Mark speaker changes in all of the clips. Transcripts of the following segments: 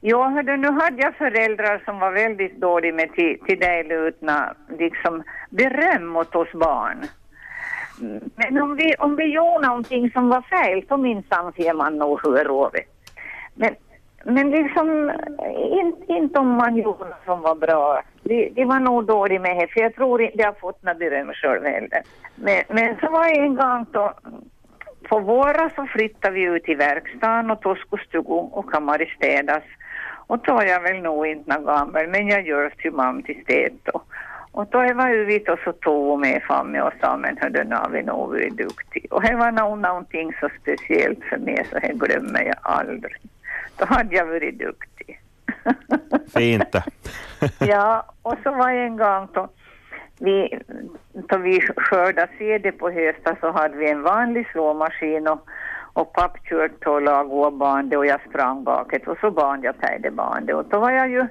Speaker 1: Jo, hördu, nu hade jag föräldrar som var väldigt dåliga med till, till det lutna, liksom beröm åt oss barn. Men om vi, om vi gjorde någonting som var fel, så minsann ser man nog hur det Men, men liksom, inte, inte om man gjorde något som var bra. Det, det var nog dåligt med det, för jag tror inte jag har fått något beröm själv heller. Men, men så var det en gång då, på våren så flyttade vi ut i verkstaden och då skulle stugan och kammaren städas. Och då var jag väl nog inte någon gammal, men jag gör till mamma till städ då. Och då var vi ute och så tog hon med Fanny och sa men hördu nu har vi nog varit duktiga. Och det var nog någonting så speciellt för mig så det glömmer jag aldrig. Då hade jag varit duktig.
Speaker 2: Fint.
Speaker 1: ja, och så var det en gång då vi, då vi skördade sede på hösten så hade vi en vanlig slåmaskin och, och papp körde och lag och bande och jag sprang bakåt och så band jag pejde bandet och då var jag ju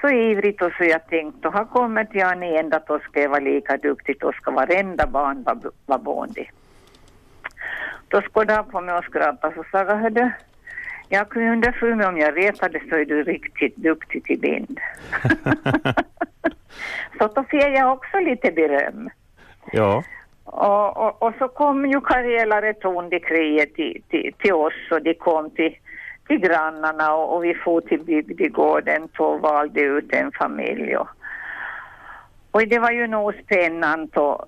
Speaker 1: så ivrigt och så jag tänkte och här kommer jag ni ända då ska jag vara lika duktig och ska varenda barn vara var bondig. Då skådde han på mig och skrattade så sa jag hördu jag kunde för mig om jag retade så är du riktigt duktig till bind. så då fick jag också lite beröm.
Speaker 2: Ja.
Speaker 1: Och, och, och så kom ju karelare Tondikriet till, till, till oss och de kom till, till grannarna och, och vi for till bygdegården och valde ut en familj. Och, och det var ju nog spännande och,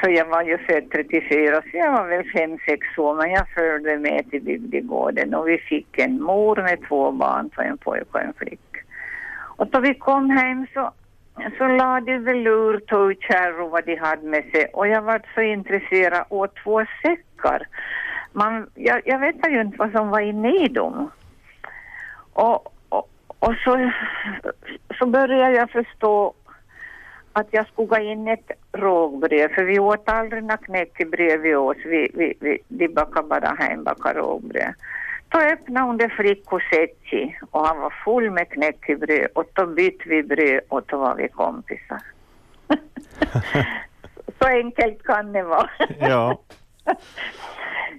Speaker 1: för jag var ju född 34 så jag var väl 5-6 år men jag följde med till bygdegården och vi fick en mor med två barn, så en pojke och en flicka. Och då vi kom hem så, så la de velur och kärror vad de hade med sig och jag var så intresserad av två säckar. Man, jag, jag vet ju inte vad som var inne i dem. Och, och, och så, så började jag förstå att jag skulle gå in ett rågbröd, för vi åt aldrig några knäckebröd vid oss. Vi, vi, vi, de bakade bara hembakade rågbröd. Då öppnade hon det frikosetti och han var full med knäckebröd och då bytte vi bröd och då var vi kompisar. så enkelt kan det vara.
Speaker 2: ja.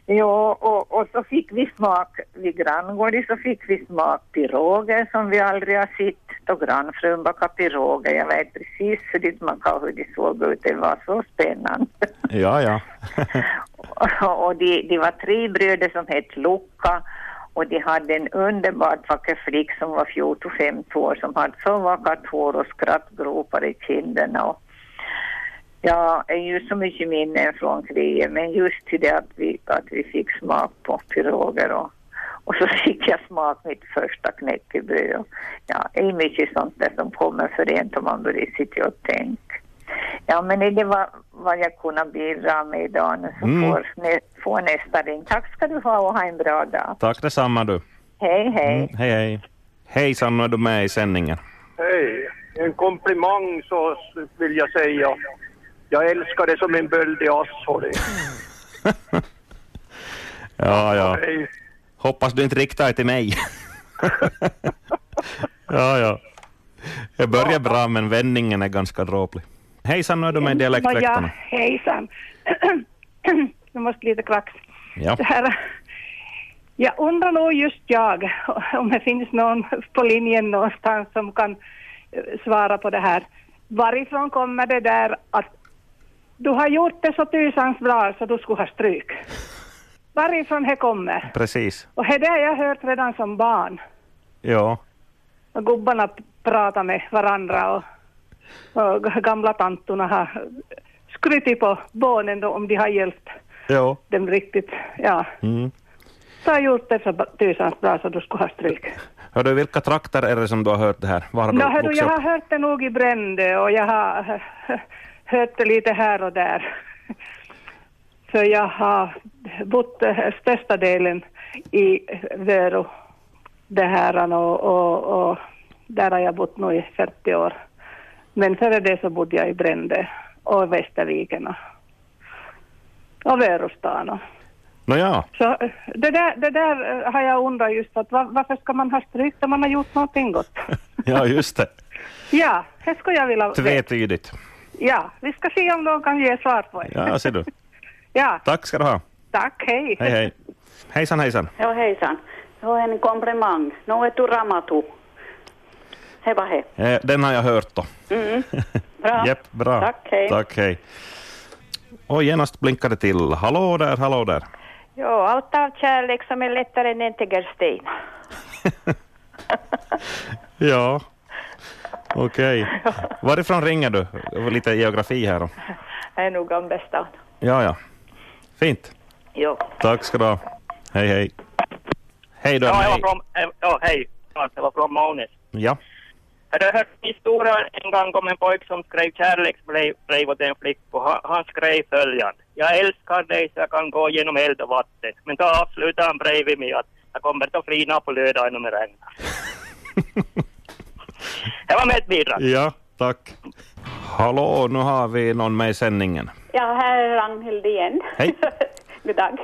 Speaker 1: Ja, och, och så fick vi smak vid granngården så fick vi smak piroger som vi aldrig har sett och grannfrun bakade piroger. Jag vet precis hur det smakade hur de såg ut. Det var så spännande.
Speaker 2: Ja, ja.
Speaker 1: och, och det de var tre bröder som hette Luca och de hade en underbart vacker flick som var 14-15 år som hade så vackert hår och skrattgropar i kinderna. Och, Ja, ju så mycket minnen från kriget, men just till det att vi, att vi fick smak på piroger och, och så fick jag smak mitt första knäckebröd. Ja, det är mycket sånt där som kommer för en om man börjar sitta och tänka. Ja, men det var vad jag kunde bidra med idag. Nu så mm. får, nä, får nästa ring. Tack ska du ha och ha en bra dag.
Speaker 2: Tack detsamma du.
Speaker 1: Hej, hej. Mm,
Speaker 2: hej, hej. Hejsan, är du med i sändningen?
Speaker 3: Hej. En komplimang så vill jag säga. Jag älskar det som en böld i asshole.
Speaker 2: ja, ja. Hoppas du inte riktar dig till mig. ja, ja. Jag börjar bra, men vändningen är ganska dråplig. Hejsan, nu är du med i Dialektväktarna.
Speaker 4: Ja, hejsan. nu måste lite kvax.
Speaker 2: Ja.
Speaker 4: Det här, jag undrar nog just jag om det finns någon på linjen någonstans som kan eh, svara på det här. Varifrån kommer det där att du har gjort det så tusans bra så du skulle ha stryk? Varifrån det kommer?
Speaker 2: Precis.
Speaker 4: Och det har jag hört redan som barn.
Speaker 2: Ja.
Speaker 4: Och gubbarna pratar med varandra och, och gamla tantorna har skrytit på barnen då om de har hjälpt
Speaker 2: ja.
Speaker 4: dem riktigt. Ja.
Speaker 2: Mm.
Speaker 4: Du har gjort det så tusans bra så du skulle ha stryk.
Speaker 2: Hördu, vilka trakter är det som du har hört det här? Var har
Speaker 4: no,
Speaker 2: du
Speaker 4: hördu,
Speaker 2: vuxit
Speaker 4: jag
Speaker 2: upp?
Speaker 4: har hört det nog i Brände och jag har hört det lite här och där. För jag har bott eh, största delen i Vörå, det här och, och, och där har jag bott nu i 40 år. Men före det så bodde jag i Brände och i Västerviken och- och Vörostan. och-
Speaker 2: Nåja,
Speaker 4: Så eh, det där, det där eh, har jag undrat just att var, varför ska man ha stryk när man har gjort någonting gott?
Speaker 2: ja just det.
Speaker 4: Ja, det skulle jag vilja veta.
Speaker 2: Tvetydigt.
Speaker 4: Ja, vi ska se om någon kan ge svar på det.
Speaker 2: Ja, ser du.
Speaker 4: Ja,
Speaker 2: Tack ska du ha.
Speaker 4: tack, hej.
Speaker 2: Hej, hej. Hejsan, hejsan.
Speaker 5: Ja, hejsan. Det var en komplimang. Nå är du No, ramatu. Det var det.
Speaker 2: Eh, Den har jag hört då.
Speaker 5: Mm. Bra.
Speaker 2: Jepp, bra.
Speaker 5: Tack, hej.
Speaker 2: Tack, hej. Och genast blinkade det till. Hallå där, hallå där.
Speaker 6: Jo, allt av kärlek som är lättare än en tegelsten.
Speaker 2: Ja. Okej. Varifrån ringer du? Det var Lite geografi här då.
Speaker 6: Det är nog Gamla stan.
Speaker 2: Ja, ja. Fint.
Speaker 6: Jo.
Speaker 2: Tack ska du ha. Hej, hej. Hej då.
Speaker 7: Ja, jag
Speaker 2: hej.
Speaker 7: var från, eh, ja hej. Ja, Jag var från Maunes.
Speaker 2: Ja.
Speaker 7: Har du hört historien en gång om en pojke som skrev kärleksbrev brev åt en flicka? Han, han skrev följande. Jag älskar dig så jag kan gå genom eld och vatten. Men då avslutade han brevet med att jag kommer att flina på lördagen om det regnar. det var mitt bidrag.
Speaker 2: ja, tack. Hallå, nu har vi någon med i sändningen.
Speaker 8: Ja, här är Ragnhild igen.
Speaker 2: Hej.
Speaker 8: God dag.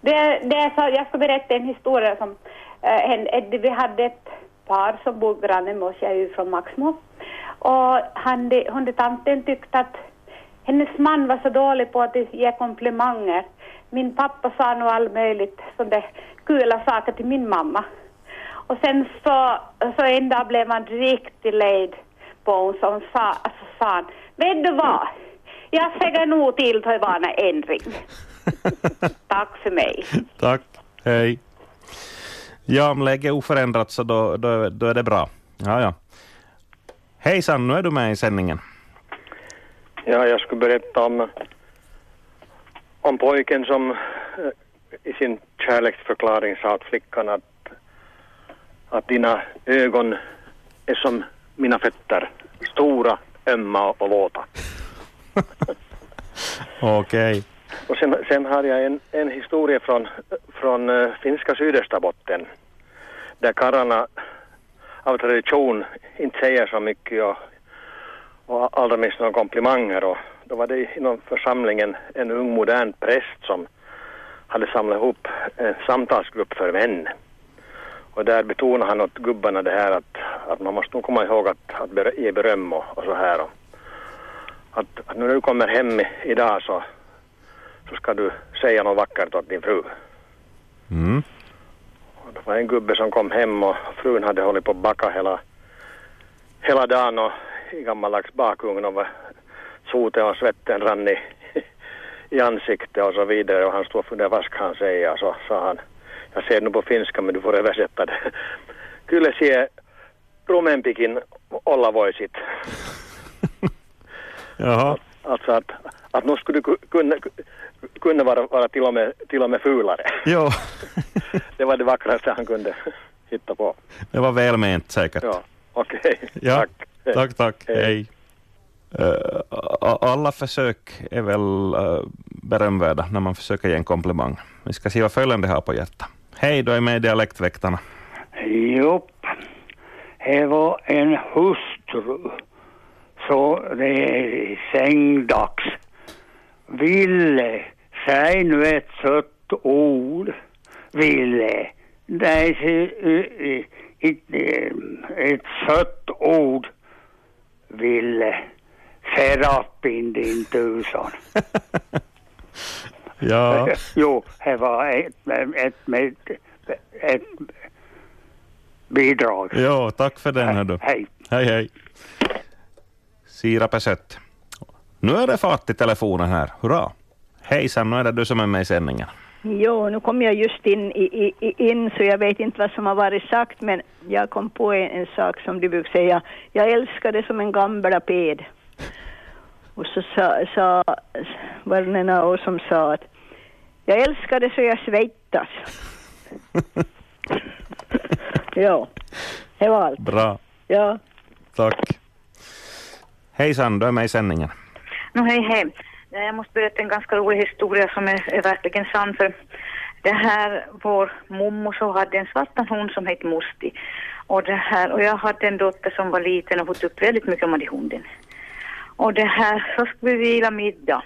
Speaker 8: Det, det är så, jag ska berätta en historia som eh, hände. Ett- Vi hade ett par som bodde granne med oss, jag är ju från Maxmo. Och han, de- hon, de tanten tyckte att hennes man var så dålig på att ge komplimanger. Min pappa sa nog all möjligt sånt där kula saker till min mamma. Och sen så, så en dag blev man riktigt lejd på hon som sa, alltså sa han, vet du vad? Jag säger nog till för vana ändring. Tack för mig.
Speaker 2: Tack. Hej. Ja, om läget är oförändrat så då, då, då är det bra. Ja, ja. Hejsan, nu är du med i sändningen.
Speaker 3: Ja, jag skulle berätta om, om pojken som eh, i sin kärleksförklaring sa åt flickan att, att dina ögon är som mina fötter, stora, ömma och våta.
Speaker 2: Okej.
Speaker 3: Och sen, sen har jag en, en historia från, från eh, finska Sydösterbotten där karlarna av tradition inte säger så mycket och, och allra minst några komplimanger. Och då var det inom församlingen en ung modern präst som hade samlat ihop en samtalsgrupp för män. Och där betonade han åt gubbarna det här att, att man måste nog komma ihåg att, att ber- ge beröm och, och så här. Och att, att när du kommer hem i- idag så så ska du säga något vackert åt din niin fru.
Speaker 2: Mm.
Speaker 3: Och Det var en gubbe som kom hem och frun hade hållit på att baka hela, hela dagen och i gammaldags bakugn och var- soten och svetten rann i, i ansiktet och så vidare och han stod och funderade vad ska han säga och så sa han jag ser nu på finska men du får översätta det. Kyllä sie rumenpikin olla voisit.
Speaker 2: Jaha.
Speaker 3: Alltså att, att nu skulle du ku- kunna, kunna vara, vara till, och med, till och med fulare.
Speaker 2: Jo,
Speaker 3: Det var det vackraste han kunde hitta på.
Speaker 2: det var välment säkert.
Speaker 3: Ja, okej.
Speaker 2: Ja,
Speaker 3: Tack.
Speaker 2: Tack, tack. Hej.
Speaker 3: Hej.
Speaker 2: Eh, a- alla försök är väl eh, berömvärda när man försöker ge en komplimang. Vi ska se vad följande har på hjärtat. Hej, du är med i Dialektväktarna.
Speaker 9: Jopp. Det var en hustru. Så det är sängdags. Ville, säg nu ett sött ord. Ville. Det är så- eh, eh, ett, eh, ett sött ord. Ville. Serapin din tusan.
Speaker 2: Ja.
Speaker 9: Jo, det var ett, ett, ett, ett bidrag.
Speaker 2: Jo, tack för den. Hej,
Speaker 9: Hej.
Speaker 2: hej. hej. Sirap är sött. Nu är det fart i telefonen här. Hurra! Hejsan, nu är det du som är med i sändningen.
Speaker 10: Jo, nu kom jag just in, i, i- i, in så jag vet inte vad som har varit sagt men jag kom på en, en sak som de brukar säga. Jag älskar det som en gamla ped. Och så sa, sa var det en av oss som sa att jag älskar det så jag svettas. jo, det var allt.
Speaker 2: Bra,
Speaker 10: Ja.
Speaker 2: tack. Hejsan, du är med i sändningen.
Speaker 11: Nå, hej, hej. Ja, Jag måste berätta en ganska rolig historia som är, är verkligen sann. För det här, vår mommo så hade en svartpension som hette Musti. Och, det här, och jag hade en dotter som var liten och hon tyckte väldigt mycket om den hunden. Och det här, så skulle vi vila middag.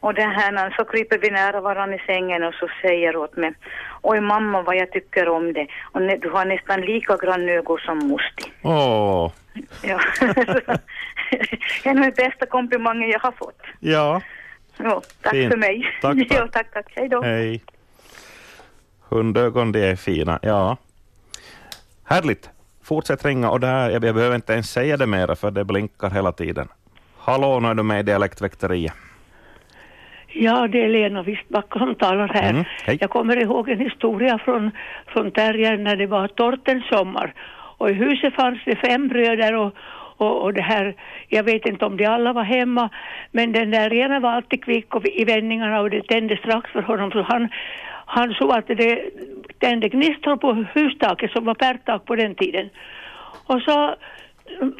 Speaker 11: Och det här, när- så kryper vi nära varandra i sängen och så säger åt mig, oj mamma vad jag tycker om det. Och ne, du har nästan lika granna ögon som Musti.
Speaker 2: Åh,
Speaker 11: Ja. en av de bästa komplimangen jag har fått.
Speaker 2: ja.
Speaker 11: Ja, tack
Speaker 2: Fint.
Speaker 11: för mig.
Speaker 2: Tack, tack.
Speaker 11: Ja, tack, tack. Hej då.
Speaker 2: Hej. Hundögon, de är fina. Ja. Härligt. Fortsätt ringa och där, jag behöver inte ens säga det mera för det blinkar hela tiden. Hallå, nu är du med i Dialektväkteriet.
Speaker 12: Ja, det är Lena Wistbacka som talar här.
Speaker 2: Mm, hej.
Speaker 12: Jag kommer ihåg en historia från, från Terjer när det var torten sommar. Och i huset fanns det fem bröder och, och, och det här, jag vet inte om de alla var hemma, men den där ena var alltid kvick och i vändningarna och det tände strax för honom så han, han såg att det tände gnistor på hustaket som var pärrtak på den tiden. Och så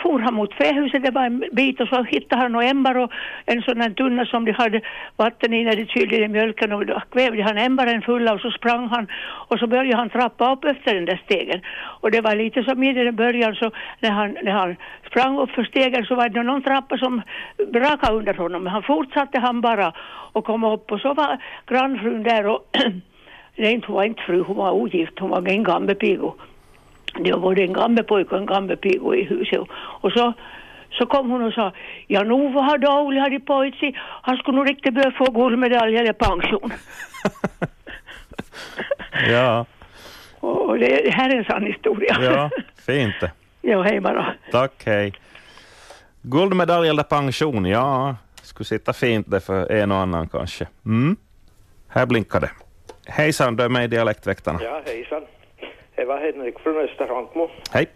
Speaker 12: for han mot fähuset, det var en bit och så hittade han och ämbar och en sån här tunna som de hade vatten i när de kylde i mjölken och då kvävde han ämbaren fulla och så sprang han och så började han trappa upp efter den där stegen. Och det var lite som i den början så när han, när han sprang upp för stegen så var det någon trappa som brakade under honom men han fortsatte han bara och kom upp och så var grannfrun där och nej, hon var inte fru, hon var ogift, hon var en gammelpigo det var både en gammal pojke och en gammal piga i huset. Och så, så kom hon och sa, ja nu vad har Dauli hade pojke, han skulle nog riktigt behöva få guldmedalj eller pension.
Speaker 2: Ja,
Speaker 12: Och det, det här är en sann historia.
Speaker 2: ja fint.
Speaker 12: ja hej bara.
Speaker 2: Tack, hej. Guldmedalj eller pension? Ja, skulle sitta fint det för en och annan kanske. Mm. Här blinkar det. Hejsan, du är med i Dialektväktarna.
Speaker 13: Ja, hejsan. Det var Henrik från Österhansmo.
Speaker 2: Hej.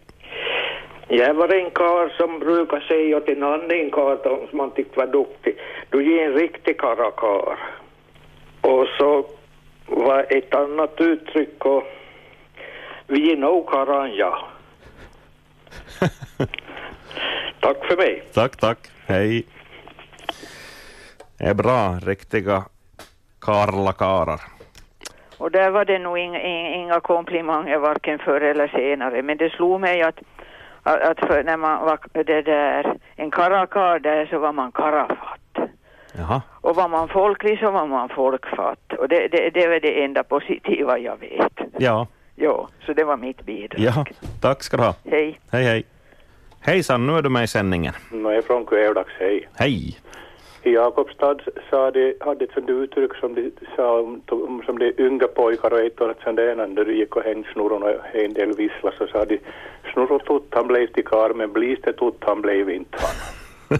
Speaker 13: Jag var en karl som brukar säga till en annan karl då, som man tyckte var duktig, du är en riktig karakar. Och så var ett annat uttryck och vi är nog karanja. Tack för mig.
Speaker 2: Tack, tack. Hej. Det är bra, riktiga karlakarar.
Speaker 14: Och där var det nog inga, inga komplimanger varken förr eller senare. Men det slog mig att, att att för när man var det där, en karakar där så var man karafatt.
Speaker 2: Jaha.
Speaker 14: Och var man folklig så var man folkfatt. Och det, det, det var det enda positiva jag vet.
Speaker 2: Ja,
Speaker 14: Jo, så det var mitt bidrag.
Speaker 2: ja. tack ska du ha.
Speaker 14: Hej.
Speaker 2: Hej, hej. Hejsan, nu är du med i sändningen.
Speaker 15: No, jag är från Kvävlax, hej.
Speaker 2: Hej.
Speaker 15: I Jakobstad sa de, hade ett sånt uttryck som de sa om, om som de unga pojkar och ett och annat sånt där när de gick och hängde snurran och en del vissla så sa de snurro tutt han blev till karl men bliste tutt han blev inte han.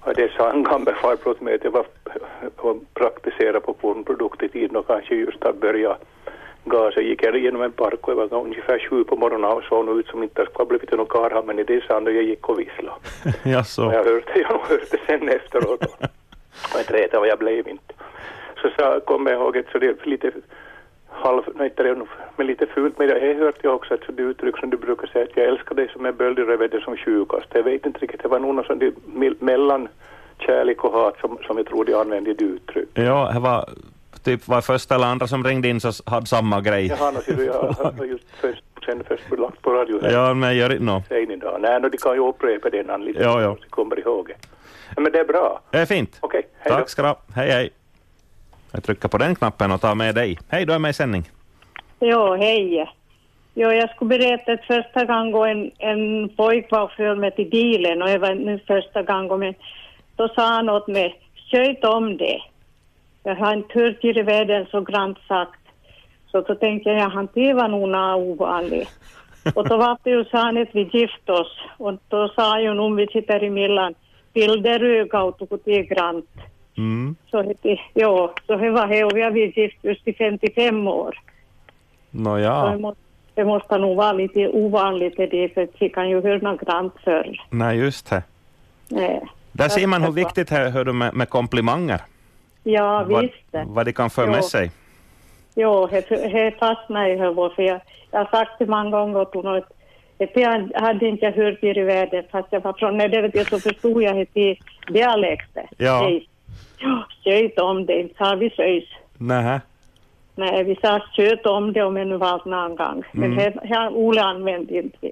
Speaker 15: och det sa en gammal farbror till mig att jag var och praktiserade på pornprodukt i tiden och kanske just har börjat gasa gick jag genom en park och jag var ungefär sju på morgonen och såg nog ut som inte skulle ha blivit någon karl men i det sa han och jag gick och visslade.
Speaker 2: Jaså.
Speaker 15: Och jag hörde, jag hörde sen efteråt. Och inte vet jag vad jag blev inte. Så sa, kom jag ihåg ett så det är lite halv, nej inte det, är nog- men lite fult med det. Jag hörde jag också ett sådant uttryck som du brukar säga att jag älskar dig som en böld i rövet som sjukast. Jag vet inte riktigt, det var nog någon sån där mel- mellan kärlek och hat som, som jag tror de använde i det uttryck.
Speaker 2: Ja, det var typ var första eller andra som ringde in så s- hade samma grej.
Speaker 15: Jaha, nu ser du, jag har just först, sen först lagt på radio här.
Speaker 2: Ja, men gör inte nå.
Speaker 15: Säg ni då. Nej, no, de kan ju upprepa det innan lite,
Speaker 2: Ja, ja.
Speaker 15: så kommer ihåg det. Nej, Men det är bra.
Speaker 2: Det är fint.
Speaker 15: Okej, hej då.
Speaker 2: Tack ska du ha. Hej, hej. Jag trycker på den knappen och tar med dig. Hej, du är med i sändning.
Speaker 16: Jo, hej. Jo, jag skulle berätta att första gången en, en pojk var för mig till bilen och det var nu första gången. Men då sa han åt mig, sköt om det. Jag har inte hört i världen så grant sagt. Så då tänkte jag, ja, han det var nog något ovanligt. Och då var det ju så han att vi gifte oss. Och då sa ju någon vi sitter emellan, bilder öga och tog det grant.
Speaker 2: Mm.
Speaker 16: Så det, ja, så det var det och vi har varit gift just i 55 år. Så det
Speaker 2: Nåja,
Speaker 16: måste, det måste nog vara lite ovanligt det där, för vi kan ju höra eh. något grant förr.
Speaker 2: nej just det.
Speaker 16: Nej.
Speaker 2: Där ser man hur viktigt det är hör du, med, med komplimanger.
Speaker 16: Ja,
Speaker 2: Vad,
Speaker 16: visst.
Speaker 2: vad de kan föra
Speaker 16: Jo.
Speaker 2: med sig.
Speaker 16: Jo, det- det fastnade i huvudet, för jag, jag har sagt det många gånger åt honom att att det hade inte jag hört i världen, fast jag var från Nederländerna så förstod jag det i dialekten.
Speaker 2: Ja.
Speaker 16: Nej. Ja, Sköt om det, inte sa vi söjs.
Speaker 2: Nähä.
Speaker 16: Nej, vi sa sköt om det om en var någon gång. Men
Speaker 2: Mm.
Speaker 16: det har Ola använt inte.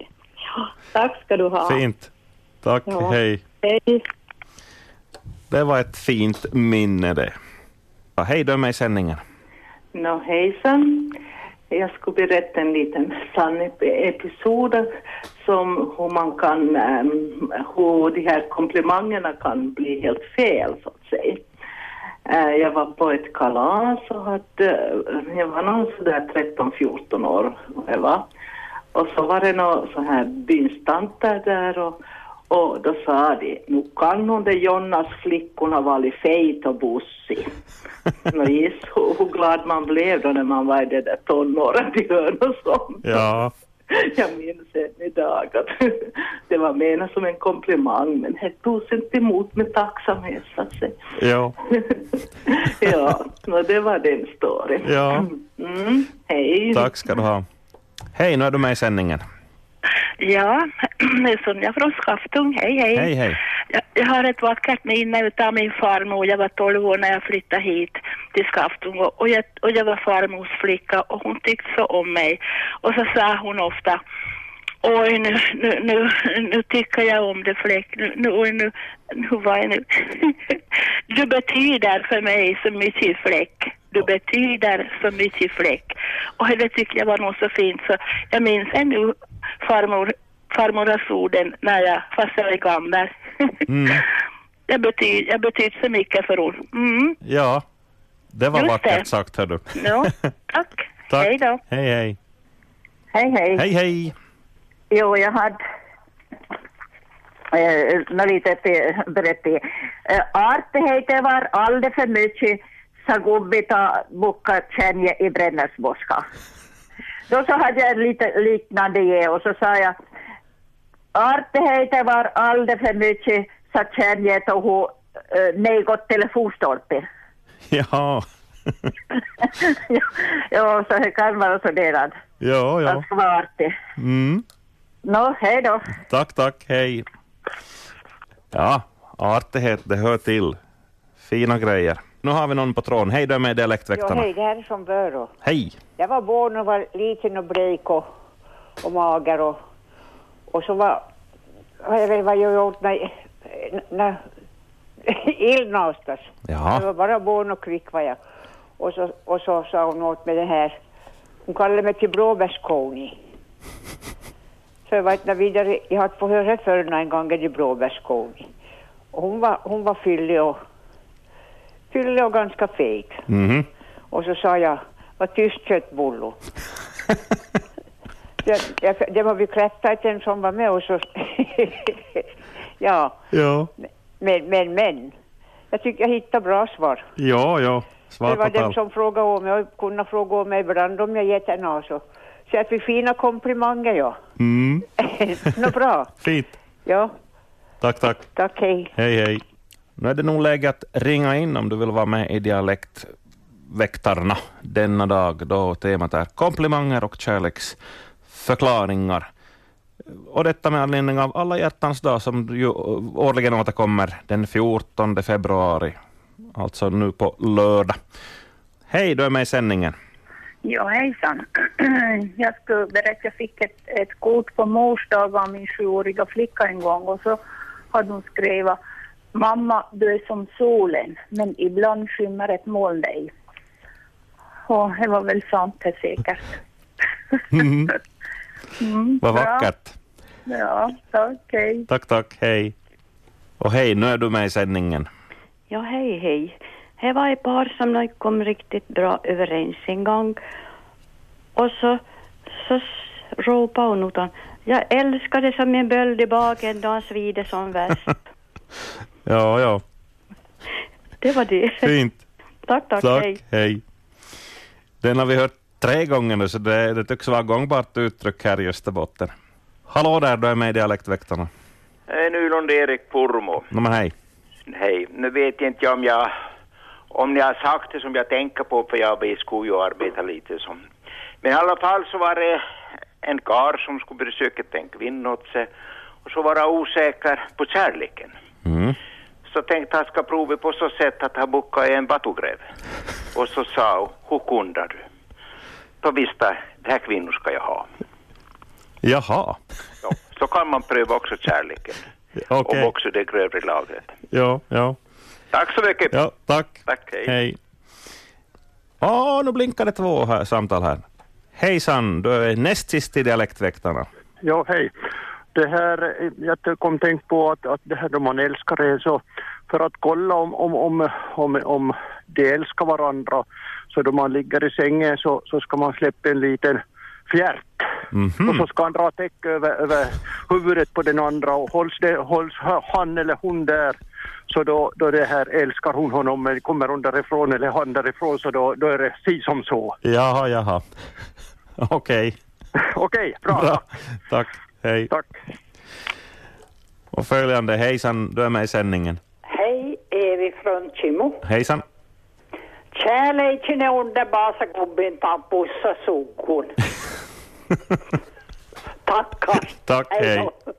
Speaker 16: Ja, tack ska du ha.
Speaker 2: Fint. Tack,
Speaker 16: Ja.
Speaker 2: hej.
Speaker 16: Hej.
Speaker 2: Det var ett fint minne det. Ja, hej, du är med i sändningen.
Speaker 17: Nå hejsan. Jag skulle berätta en liten sann ep- episod som hur man kan, ehm, hur de här komplimangerna kan bli helt fel så att säga. Eh, Jag var på ett kalas och hade, eh, jag var någon sådär 13-14 år. Jag var. Och så var det någon så här byns tanter där och, och då sa de, nu kan hon det Jonnas flickor har varit fejt och bussig. Nå giss hur hur glad man blev då när man var i det där tonåren till hör och sånt.
Speaker 2: Ja.
Speaker 17: Jag minns än idag att det var menat som en komplimang men det togs inte emot med tacksamhet så att säga.
Speaker 2: Ja.
Speaker 17: Ja, nå, det var den storyn.
Speaker 2: Ja.
Speaker 17: Mm, hej.
Speaker 2: Tack ska du ha. Hej, nu är du med i sändningen.
Speaker 18: Ja, det är Sonja från Skaftung. Hej, hej.
Speaker 2: Hej, hej.
Speaker 18: Jag, jag har ett vackert minne utav min farmor. Jag var 12 år när jag flyttade hit till Skaftung och, och, jag, och jag var farmors flicka och hon tyckte så om mig. Och så sa hon ofta Oj, nu, nu, nu, nu tycker jag om dig Fläck. Nu, nu, oj, nu, nu, var jag nu. Du betyder för mig så mycket Fläck. Du betyder så mycket Fläck. Och det tycker jag var något så fint så jag minns ännu farmor, farmornas orden när jag, fast jag är gammal.
Speaker 2: Mm.
Speaker 18: Jag betyder, jag betyder så mycket för hon. Mm.
Speaker 2: Ja, det var
Speaker 18: Just
Speaker 2: vackert
Speaker 18: det.
Speaker 2: sagt, hör du.
Speaker 18: Ja,
Speaker 2: Tack.
Speaker 18: hej då.
Speaker 2: Hej, hej.
Speaker 19: Hej, hej.
Speaker 2: Hej, hej.
Speaker 19: Jo, jag hade eh, något litet eh, berättelse. Eh, artigheter var alldeles för mycket sagubbita bukka känje i Brännäsboska. Då så hade jag lite liknande ge och så sa jag artigheter var alldeles för mycket sa känje och hon eh, nejgott telefonstolpe.
Speaker 2: Ja,
Speaker 19: ja, så det kan vara sådär.
Speaker 2: ja, ja.
Speaker 19: Man ska vara artig.
Speaker 2: Mm.
Speaker 19: Nå, hej då.
Speaker 2: Tack, tack, hej. Ja, artighet, det hör till. Fina grejer. Nu har vi någon på tråden. Hej, du är med i
Speaker 20: Ja,
Speaker 2: Dialektväktarna.
Speaker 20: hej, det här är från Börå.
Speaker 2: Hej.
Speaker 20: Jag var barn och var liten och blek och, och mager och, och så var, vad jag vet vad jag gjort när, när illnastas.
Speaker 2: Jaha.
Speaker 20: Jag var bara barn och kvick var jag. Och så, och så sa hon åt mig det här, hon kallade mig till blåbärskoni. Så jag var inte vidare, jag hade fått höra förr en gång i blåbärskoni. Och hon var, hon var fyllig och, fyllig och ganska fet.
Speaker 2: Mhm.
Speaker 20: Och så sa jag, vad tyst köttbullo. jag, jag, det var bekräftat den som var med och så... ja,
Speaker 2: Ja,
Speaker 20: men, men, men. Jag tycker jag hittade bra svar.
Speaker 2: ja, ja.
Speaker 20: det
Speaker 2: Svar
Speaker 20: var
Speaker 2: på
Speaker 20: den
Speaker 2: tal.
Speaker 20: som frågade om mig och kunde fråga om mig ibland om jag gett en alltså. Så jag fick fina komplimanger, ja.
Speaker 2: Mm.
Speaker 20: Nå bra.
Speaker 2: Fint.
Speaker 20: Ja,
Speaker 2: Tack, tack.
Speaker 20: tack, hej.
Speaker 2: Hej, hej. Nu är det nog läge att ringa in om du vill vara med i Dialektväktarna denna dag, då temat är komplimanger och kärleksförklaringar. Och detta med anledning av Alla hjärtans dag som ju årligen återkommer den 14 februari, alltså nu på lördag. Hej, du är med i sändningen.
Speaker 21: Ja, hejsan. Jag skulle berätta att jag fick ett, ett kort på mors dag av min sjuåriga flicka en gång och så hade hon skrivit Mamma, du är som solen, men ibland skymmer ett moln dig. Och det var väl sant det säkert.
Speaker 2: Mhm.
Speaker 21: Mm,
Speaker 2: Vad
Speaker 21: bra.
Speaker 2: vackert.
Speaker 21: Ja, okej.
Speaker 2: Tack, tack. Hej. Och hej, nu är du med i sändningen.
Speaker 22: Ja, hej, hej. Det var ett par som nog kom riktigt bra överens en gång. Och så, så s- ropade hon åt honom. Jag älskar dig som en böld i baken då han svider som värst.
Speaker 2: Ja, ja.
Speaker 22: Det var det.
Speaker 2: Fint.
Speaker 22: Tack, tack,
Speaker 2: Tack,
Speaker 22: hej.
Speaker 2: hej. Den har vi hört tre gånger nu, så det, det tycks vara gångbart uttryck här i Österbotten. Hallå där, du är med i Dialektväktarna.
Speaker 23: Hej, Nylund Erik Purmo.
Speaker 2: No, men hej.
Speaker 23: Hej. Nu vet jag inte om jag om ni har sagt det som jag tänker på för jag vi skulle ju arbeta lite som. Men i alla fall så var det en karl som skulle besöka en kvinna åt sig och så var han osäker på kärleken. Så tänkte han ska prova på så sätt att han bockade en batugrev. Och så sa hon, hur kunde du? Då visste jag, det här kvinnor ska jag ha.
Speaker 2: Jaha,
Speaker 23: Så kan man pröva också kärleken.
Speaker 2: okej.
Speaker 23: Om också det grövre lagret.
Speaker 2: Ja, ja.
Speaker 23: Tack så mycket.
Speaker 2: Ja, tack.
Speaker 23: Tack, hej.
Speaker 2: Hej. Åh, nu blinkar det två här, samtal här. Hejsan, du är näst sist i Dialektväktarna.
Speaker 24: Ja, hej. det här, jag kom tänkt på att, att det här då man älskar är så, för att kolla om, om, om, om, om de älskar varandra, så då man ligger i sängen så, så ska man släppa en liten fjärt.
Speaker 2: Mhm.
Speaker 24: Och så ska han dra täcke över, över huvudet på den andra och hålls, det, hålls han eller hon där så då, då det här älskar hon honom men kommer hon därifrån eller han därifrån så då, då är det si som så.
Speaker 2: Jaha, jaha. Okej.
Speaker 24: Okej, bra.
Speaker 2: Tack. Hej.
Speaker 24: Tack.
Speaker 2: Och följande, hejsan, du är med i sändningen.
Speaker 17: Hej, Evi från Kimo.
Speaker 2: Hejsan.
Speaker 17: Kärleken är underbar så gubben tar buss och suggor. Tack.
Speaker 2: Tack, hej.
Speaker 17: då.